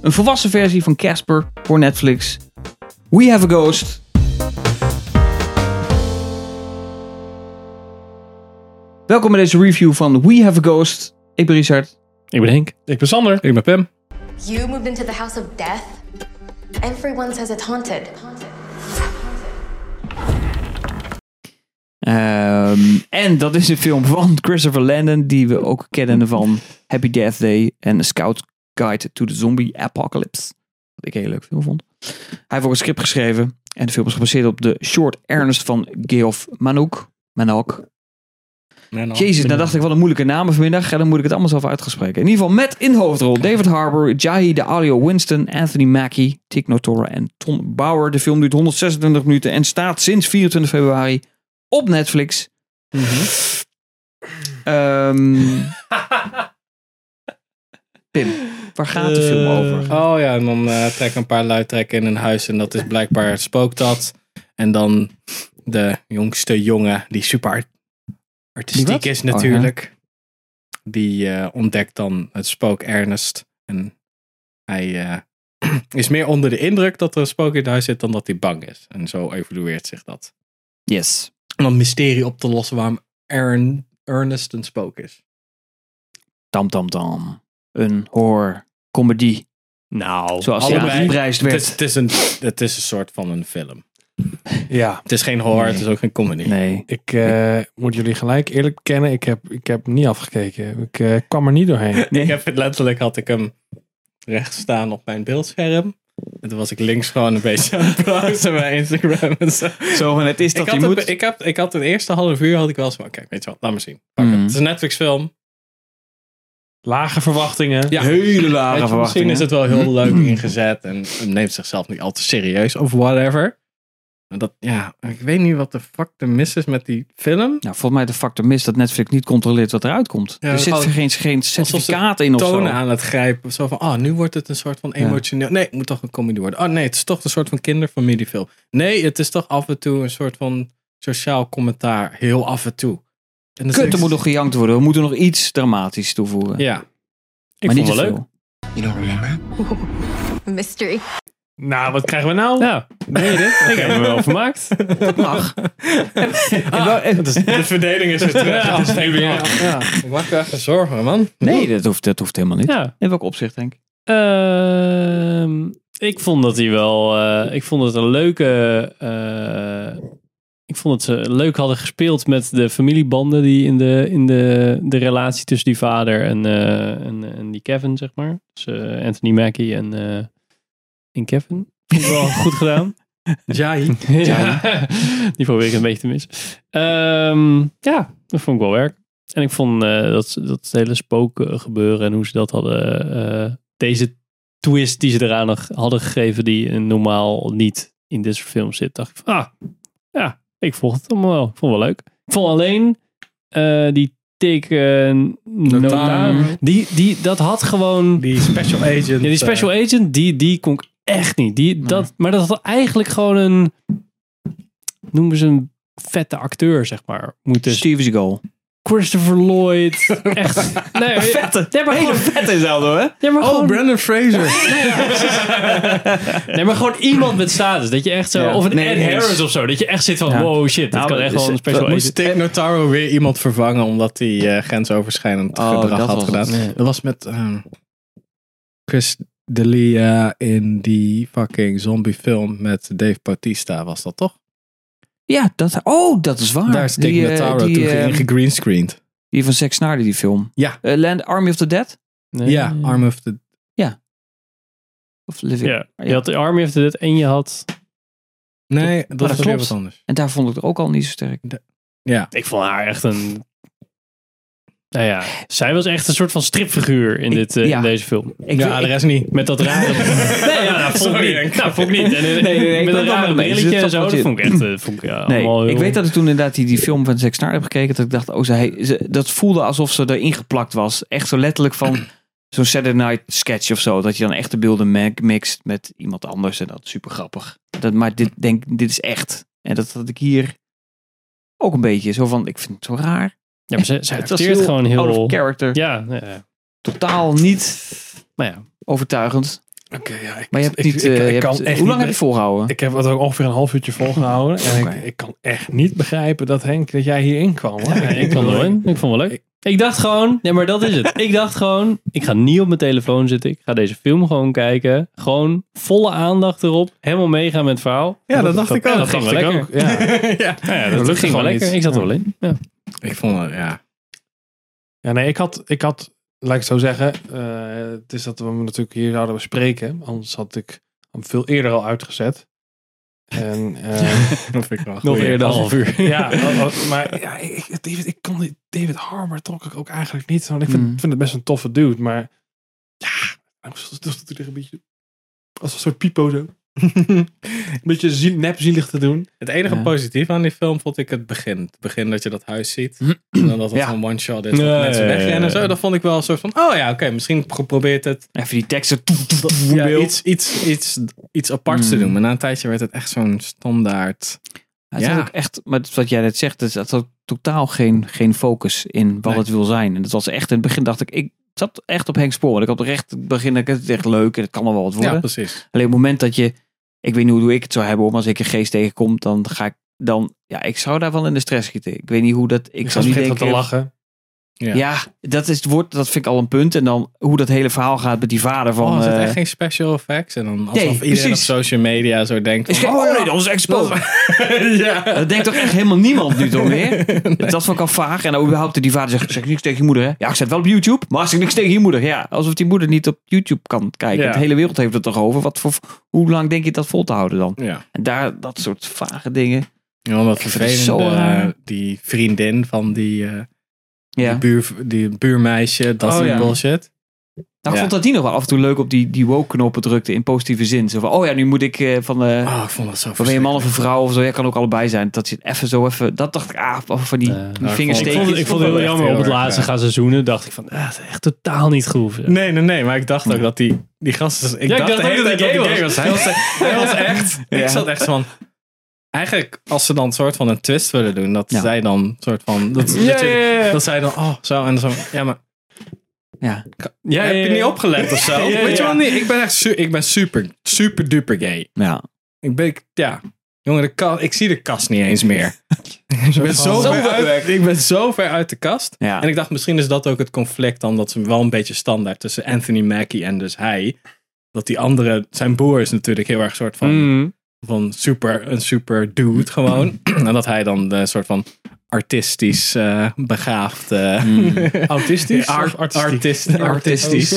Een volwassen versie van Casper voor Netflix. We Have a Ghost. Welkom bij deze review van We Have a Ghost. Ik ben Richard. Ik ben Henk. Ik ben Sander. Ik ben Pam. You moved into the house of death? Everyone says it's haunted. Ehm, en dat is een film van Christopher Landon, die we ook kennen van Happy Death Day en A Scout Guide to the Zombie Apocalypse. Wat ik een heel leuk film vond. Hij heeft ook een script geschreven en de film is gebaseerd op de short Ernest van Geoff Manouk. Manouk. Jezus, nou dacht ik, wat een moeilijke namen vanmiddag. En dan moet ik het allemaal zelf uitgespreken. In ieder geval met in de hoofdrol David Harbour, Jahi de Alio Winston, Anthony Mackie, Tig Notora en Tom Bauer. De film duurt 126 minuten en staat sinds 24 februari op Netflix. Mhm. Ehm Pim, waar gaat de film over? Oh ja, en dan eh trekken een paar lui trekken in een huis. En dat is blijkbaar spookt dat. En dan de jongste jongen, die super art- Die wat? Oh, artistiek is natuurlijk. Die eh, ontdekt dan het spook Ernest. En hij eh, is meer onder de indruk dat er een spook in het huis zit dan dat hij bang is. En zo evolueert zich dat. Yes. Om een mysterie op te lossen waarom Ern- Ernest een spook is. Tam tam tam. Een horror comedy. Nou, Zoals die Allebei. aangeprijsd Het is, werd. het, is een, het is een soort van een film. ja. Het is geen horror, het is ook geen comedy. Nee. Ik eh, moet jullie gelijk eerlijk bekennen, ik heb, ik heb niet afgekeken. Ik eh, kwam er niet doorheen. Nee. Ik heb het letterlijk, had ik hem rechts staan op mijn beeldscherm. En toen was ik links gewoon een beetje aan het browsen bij Instagram en zo. Zo van, het is Ik had, het, ik, heb, ik had het eerste half uur had ik wel eens van, kijk, weet je wat, laat me zien. Pak het. Mm. het is een Netflix film. Lage verwachtingen. Ja. Hele Weet lage je, misschien verwachtingen. Mhm. is het wel heel leuk ingezet en het neemt zichzelf niet al te serieus of whatever. Maar dat, ja, ik weet niet wat de fuck de mis is met die film. Nou, volgens mij de factor mis dat Netflix niet controleert wat eruit komt. Ja, er zit gewoon- geen, geen ze certificaat in of zo. tonen aan het grijpen. Zo van, ah, nu wordt het een soort van emotioneel. Nee, het moet toch een comedy worden. Oh nee, het is toch een soort van kinderfamiliefilm. Nee, het is toch af en toe een soort van sociaal commentaar. Heel af en toe. En dat Kut, is- er moet nog gejankt worden. We moeten nog iets dramatisch toevoegen. Ja. ik maar vond niet het te wel leuk. veel. Mystery. Nou, wat krijgen we nou? Nou, nee, dit? Ik heb me wel vermaakt. Dat mag. de verdeling Ah. is weer terug. Ja. Als het even- Ja. Ja. Ik maak me echt zorgen, man. Nee, dat hoeft, dat hoeft helemaal niet. Ja. In welk opzicht, denk ik? Ehm, ik vond dat hij wel. eh, ik vond het een leuke. eh, ik vond het ze leuk hadden gespeeld met de familiebanden die in de, in de, de relatie tussen die vader en, eh, en, en die Kevin, zeg maar. Dus eh, Anthony Mackie en, eh, en Kevin. Vond ik wel goed gedaan. Jai. Ja. Die probeer ik een beetje te missen. Ehm, ja, dat vond ik wel werk. En ik vond eh, dat, dat hele spoken gebeuren en hoe ze dat hadden. eh, deze twist die ze eraan nog hadden gegeven, die eh, normaal niet in deze film zit. Dacht ik van, ah, ja, ik volg het allemaal wel. Ik vond het wel leuk. Ik vond alleen eh, die tik eh, nota, die, die, dat had gewoon... Die special agent. Ja, die special eh, agent, die, die kon ik echt niet. Die, dat, maar dat had eigenlijk gewoon een, noemen ze een vette acteur, zeg maar, moeten zijn. Steven Seagal. Christopher Lloyd, echt. Nee, vette. Nee, maar gewoon, Vet is dat, hoor. nee, maar eh, Oh, gewoon, Brandon Fraser. nee, maar gewoon iemand met status. Dat je echt zo, Ja. of een Nee, Ed eens. Harris of zo. Dat je echt zit van, Ja. wow, shit, dat Nou, kan dat echt is- wel een special dat agent. moest Moest Tig Notaro weer iemand vervangen omdat hij eh, grensoverschrijdend Oh, gedrag dat had was gedaan. het. Dat was met ehm, Chris D'Elia in die fucking zombiefilm met Dave Bautista, was dat toch? Ja, dat, oh, dat is waar. Daar is Tig die, eh, Notaro die, toen eh, in gegreenscreened. die van Zack Snyder, die film. Ja. Eh, Land Army of the Dead? Nee. Ja, Arm of the... Of Living. Ja, je had de Army of the Dead en je had... Nee, dat, Oh, dat was weer klopt. wat anders. En daar vond ik het ook al niet zo sterk. Ja. Ik vond haar echt een... Nou ja, zij was echt een soort van stripfiguur in, dit, eh, ja. in deze film. Ik ja, de rest niet. Met dat rare... nee, ja, nou, vond Sorry, ik Henk. niet. Nou, vond ik niet. En, nee, eh, nee, ik met ben dat het wel rare mee eens. brilletje Het en is zo, toch dat wat vond ik echt... eh, vond ik, ja, allemaal Nee, heel- ik weet dat ik toen inderdaad die, die film van Zack Snyder heb gekeken. Dat ik dacht, oh, zij, ze- dat voelde alsof ze erin geplakt was. Echt zo letterlijk van zo'n Saturday Night sketch of zo. Dat je dan echt de beelden ma- mixt met iemand anders. En dat is super grappig. Dat, maar dit, denk, dit is echt. En dat had ik hier ook een beetje. Zo van, ik vind het zo raar. Ja, maar ze, ze Het was acteert gewoon Out of heel... character. Ja, ja, Totaal niet maar ja. overtuigend. ja, ik, Maar je hebt ik- niet... ik- eh, ik je hebt- kan echt hoe lang niet- heb je volgehouden? Ik heb het ook ongeveer een half uurtje volgehouden. En Oké. ik, ik kan echt niet begrijpen dat Henk, dat jij hierin kwam. hoor. Ja, ik kan erin. Ik vond het wel leuk. Ik dacht gewoon, nee, maar dat is het. Ik dacht gewoon, ik ga niet op mijn telefoon zitten. Ik ga deze film gewoon kijken. Gewoon volle aandacht erop. Helemaal meegaan met het verhaal. Ja, dat dacht ik Ja, ook. dat ging wel lekker. Ja. ja. Nou ja, Dat lukte dat, ging wel gewoon lekker. niet. Ik zat er wel in. Ja. Ik vond het, ja. ja, nee, ik had, ik had, laat ik het zo zeggen, eh, het is dat we hem natuurlijk hier zouden bespreken. Anders had ik hem veel eerder al uitgezet. En, eh, Dat vind ik wel Nog goed. eerder half uur. ja, oh, oh, maar ja, ik, David, ik kon die- David Harbour trok ik ook eigenlijk niet. Want ik vind, Mm. vind het best een toffe dude, maar ja, dat doet er een beetje als een soort pipo zo. een beetje zie- nepzielig te doen. Het enige Ja. positief aan die film vond ik het begin. Het begin dat je dat huis ziet. En dan dat het Ja. een one-shot is. Ja, dat ja, mensen ja, wegrennen en ja. zo. Dat vond ik wel een soort van... Oh ja, oké. misschien geprobeerd het Even die teksten. toef, toef, toef, in ja, beeld. iets, iets, iets, iets aparts te Mm. doen. Maar na een tijdje werd het echt zo'n standaard... Ja, het had Ja. ook echt, maar het- wat jij net zegt, het het had totaal geen, geen focus in wat Nee. het wil zijn. En dat was echt in het begin dacht ik, ik zat echt op Henk Spoor. Want ik had oprecht in het begin, ik, het is echt leuk en het kan er wel wat worden. Ja, precies. Alleen op het moment dat je, ik weet niet hoe ik het zou hebben, hoor, maar als ik een geest tegenkom, dan ga ik dan, ja, ik zou daarvan in de stress schieten. Ik weet niet hoe dat, ik zou Ik zou niet begint denken. te lachen. Ja. dat is het woord, dat vind ik al een punt. En dan hoe dat hele verhaal gaat met die vader van. oh, is het eh, echt geen special effects? En dan alsof Nee, iedereen precies. op social media zo denkt... is van, geen, oh, oh nee, ja, dat is Henk dat- Spoor. ja. Dat denkt toch echt helemaal niemand nu toch meer? Dat vond ik al vaag. En dan überhaupt die vader zegt, zeg niks tegen je moeder. Hè? Ja, ik zet wel op YouTube, maar zeg niks tegen je moeder. Ja, alsof die moeder niet op YouTube kan kijken. Ja. De hele wereld heeft het toch over. Wat voor, hoe lang denk je dat vol te houden dan? Ja. En daar, dat soort vage dingen. Ja, want dat Ik vind het zo vervelende, raar. eh, die vriendin van die, eh, Ja. die, buur, die buurmeisje, dat Oh, soort ja. bullshit. Nou, ik Ja. vond dat die nog wel af en toe leuk op die, die woke-knoppen drukte in positieve zin. Zo van, oh ja, nu moet ik eh, van... Ah, eh Oh, ik vond dat zo of ben je een man of een vrouw of zo? Ja, kan ook allebei zijn. Dat je het even zo even... Dat dacht ik, ah, van die, Ja. nou, die Ja, Ik vond, vingersteekjes. het- ik vond het heel Echt jammer. heel Op het erg, laatste ja. gaan seizoenen dacht ik van, ah, het is echt totaal niet groeven. Nee, nee, nee, maar ik dacht ook dat die, die gasten... Ik Ja, dacht, de hele tijd dat die gay was. Hij was, hij was echt... Ja. Ik zat echt van... Eigenlijk, als ze dan een soort van een twist willen doen, dat Ja. zij dan soort van... Dat, dat Ja, je- ja, ja, ja. dat zij dan, oh, zo en zo. Ja, maar Ja. Ja, heb ja, je ja. niet opgelet of zo? ja, Weet je ja. wel niet? Ik ben echt su- ik ben super, super duper gay. ja. Ik ben, ja... Jongen, de ka- ik zie de kast niet eens meer. ik, ben zo Zo ver uit, ik ben zo ver uit de kast. Ja. En ik dacht, misschien is dat ook het conflict dan dat ze wel een beetje standaard tussen Anthony Mackie en dus hij. Dat die andere, zijn broer is natuurlijk heel erg soort van, Mm. van super, een super dude gewoon. en dat hij dan de soort van artistisch eh, begaafd... eh, Autistisch ar- of artistiek? artist- artistisch.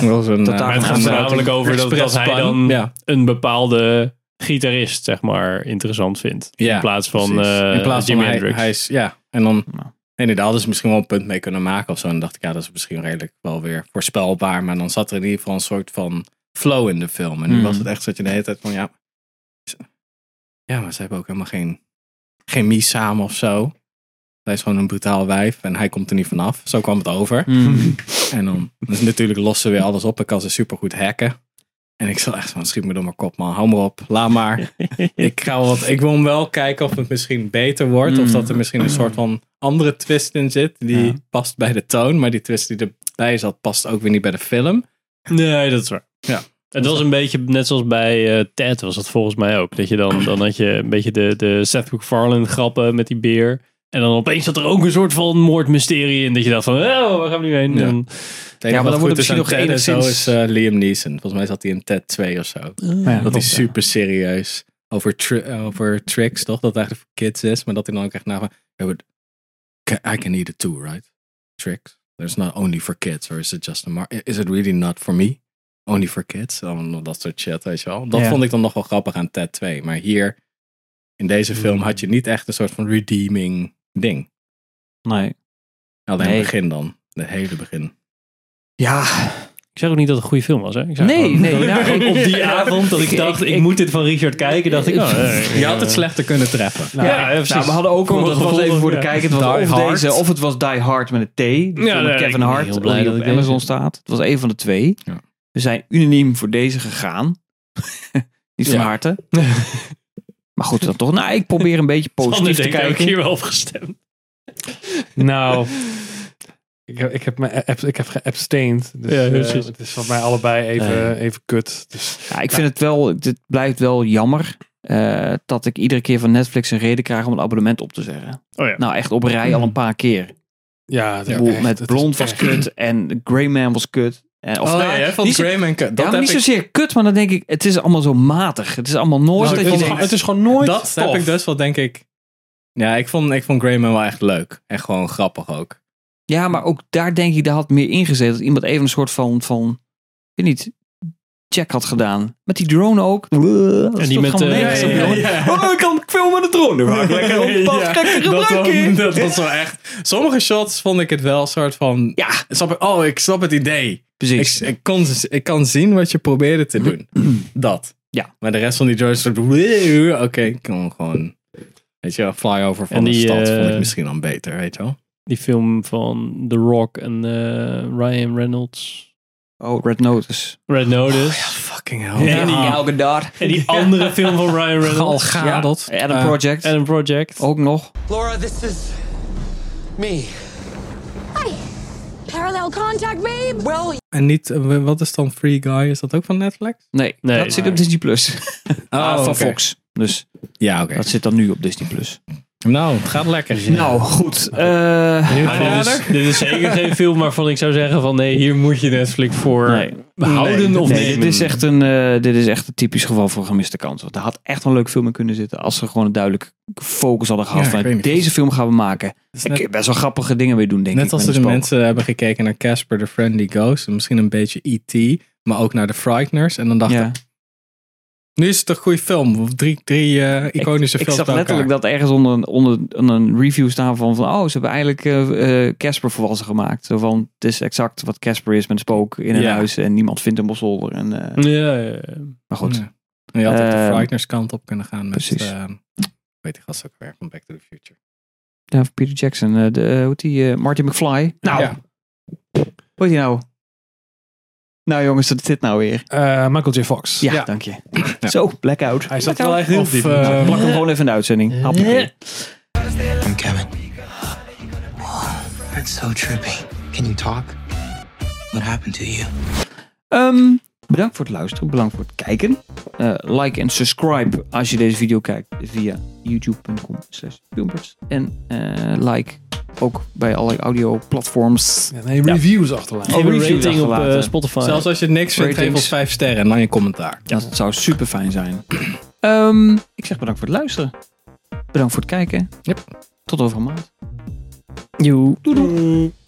Wel zo'n, Maar eh, Maar het gaat Een voornamelijk over dat, dat hij expressplan. dan Ja. een bepaalde gitarist, zeg maar, interessant vindt. Ja, in plaats van, precies. eh in plaats Jimi van hij- Hendrix. hij is- ja, en dan Nou. inderdaad hadden ze misschien wel een punt mee kunnen maken of zo. En dacht ik, ja, dat is misschien redelijk wel weer voorspelbaar. Maar dan zat er in ieder geval een soort van flow in de film. En nu Hmm. Mm. was het echt dat je de hele tijd van, ja, ze- ja, maar ze hebben ook helemaal geen chemie samen of zo. Hij is gewoon een brutaal wijf en hij komt er niet vanaf. Zo kwam het over. Hmm. Mm. En dan dus natuurlijk lossen weer alles op. Ik kan ze supergoed hacken. En ik zal echt van, schiet me door mijn kop, man. Hou me op. Laat maar. ik, ga wel wat, ik wil hem wel kijken of het misschien beter wordt. Of Mm. dat er misschien een soort van andere twist in zit. Die Ja. past bij de toon. Maar die twist die erbij zat, past ook weer niet bij de film. Nee, dat is waar. Ja. Het was een beetje net zoals bij eh Ted was dat volgens mij ook. Dat je dan, dan had je een beetje de, de Seth MacFarlane grappen met die beer. En dan opeens zat er ook een soort van moordmysterie in. Dat je dacht van, oh, waar gaan we nu heen? Ja. En- Het maar dan enige wat wordt goed het is misschien aan nog Ted en enigszins- Zo is eh, Liam Neeson. Volgens mij zat hij in Ted 2 of zo. Ja, dat klopt, is ja. super serieus. Over, tri- over tricks, toch? Dat het eigenlijk voor kids is. Maar dat hij dan ook echt na van... "Yeah, but ca- I can eat it too, right? Tricks. There's not only for kids. Or is it just a mar- Is it really not for me? Only for kids? Dan dat soort shit, weet je wel. Dat Ja. vond ik dan nog wel grappig aan Ted 2. Maar hier, in deze film, had je niet echt een soort van redeeming ding. Nee. Alleen Nee. het begin dan. Het hele begin. Ja, Ik zeg ook niet dat het een goede film was, hè? Ik zei Nee, gewoon- nee, dat nou, ik gewoon op die avond dat ik, ik- dacht, ik, ik- ik- moet dit van Richard kijken, dacht ik, oh, eh, Je had het slechter kunnen treffen. Ja, ja, precies. Nou, we hadden ook, Voor want het dat was gevolg, even voor de ja. kijker, het Die was of Hard. deze, of het was Die Hard met een T, die film nee, met ik Kevin ben Hart, heel blij die dat op ik Amazon deze- staat. Het was een van de twee. Ja. We zijn unaniem voor deze gegaan. Niet van Ja. harte. maar goed, dan toch. Nou, ik probeer een beetje Anders positief te denk ik, heb ik kijken. hier wel op gestemd. Nou, Ik heb, ik heb, me, abs- ik heb geabstained. Dus, Ja, eh, precies. het is van mij allebei even, even kut. Dus Ja, ik vind het wel, dit blijft wel jammer eh, dat ik iedere keer van Netflix een reden krijg om een abonnement op te zeggen. Oh ja. Nou, echt op rij al een paar keer. ja, het Ik is bedoel, echt- met het is Blond was echt- kut en Greyman was kut. En, of, oh nou, ja, jij vond niet zo- Greyman kut. ja, Dat maar heb niet ik- zozeer kut, maar dan denk ik, het is allemaal zo matig. Het is allemaal nooit Nou, dat het, je is, denkt... gewoon- het is gewoon nooit Dat tof. heb ik dus wel, denk ik. Ja, ik vond, ik vond Greyman wel echt leuk. En gewoon grappig ook. Ja, maar ook daar denk ik, daar had meer ingezet. Dat iemand even een soort van, van ik weet niet, check had gedaan. Met die drone ook. En met, eh, ja, ja, Oh, ik kan filmen met de drone. Dan ga ik lekker op het pad, Ja, lekker dat, gebruiken. was, dat was wel echt. Sommige shots vond ik het wel een soort van. Ja, Snap ik, oh, ik snap het idee. Ik, precies. ik, kon, ik kan zien wat je probeerde te doen. Dat. Ja. Maar de rest van die Joyce. Oké, ik kan gewoon. Weet je, wel, flyover van En de die, stad vond ik eh, misschien dan beter, weet je wel. Die film van The Rock en eh, Ryan Reynolds. Oh, Red Notice. Red Notice. Fucking hell. Ja. die Gal Gadot. En die andere film van Ryan Gal Reynolds. Gadot. Adam Eh, Project. Adam Project. ook nog. Laura, this is me. Hi. Parallel contact, babe. Well, En niet, eh, wat is dan Free Guy? Is dat ook van Netflix? Nee, Nee, dat zit maar- op Disney+. Plus. Ah, van oké. Fox. Dus Ja, oké. dat zit dan nu op Disney+. Plus. Nou, het gaat lekker. Nou, goed. Eh, Dit is, dit is zeker geen film waarvan ik zou zeggen van nee, hier moet je Netflix voor Nee. houden of nee, nemen. dit is, echt een, eh, dit is echt een typisch geval voor gemiste kans. Want er had echt een leuk film in kunnen zitten als ze gewoon een duidelijk focus hadden gehad. Ja, ik van, weet niet. deze film gaan we maken. is Ik net- kan best wel grappige dingen mee doen, denk ik. dus Net als met de een spook. mensen hebben gekeken naar Casper the Friendly Ghost. en Misschien een beetje E.T. Maar ook naar The Frighteners. En dan dachten, Ja. nu is het een goede film. Of drie, drie eh, iconische Ik films zag bij elkaar. letterlijk dat ergens onder een, onder, onder een review staan van, van... Oh, ze hebben eigenlijk eh, eh, Casper volwassen gemaakt. Zo van, het is exact wat Casper is met een spook in een Ja. Mm. huis. En niemand vindt hem op zolder. En, eh, Ja, ja, ja. Maar goed. Ja. En Je had ook de Ehm, Frighteners kant op kunnen gaan. Met, precies. eh, weet ik gast ook weer van Back to the Future. Ja, van Peter Jackson. eh, de, eh, hoe heet die? eh, Marty McFly. Nou, Ja. hoe heet die nou? Nou jongens, dat is dit nou weer. Eh, Michael J. Fox. Ja, Ja. dank je. Ja. Zo, blackout. Hij zat wel echt heel Of, diep. eh, Ja. plak hem gewoon even in de uitzending. Hapje. I'm Kevin. That's so trippy. Can you talk? What happened to you? Ehm, bedankt voor het luisteren. Bedankt voor het kijken. Eh, like en subscribe als je deze video kijkt via youtube.com slash filmpers. En eh, like ook bij alle audio platforms. Ja, nee, reviews achterlaten. Geef een review rating op achterlaten. eh, Spotify. Zelfs als je niks vindt, geef Ratings. ons vijf sterren en dan je commentaar. Dat zou super fijn zijn. Ehm, ik zeg bedankt voor het luisteren. Bedankt voor het kijken. Yep. Tot over een maand. Joe. Doei doei.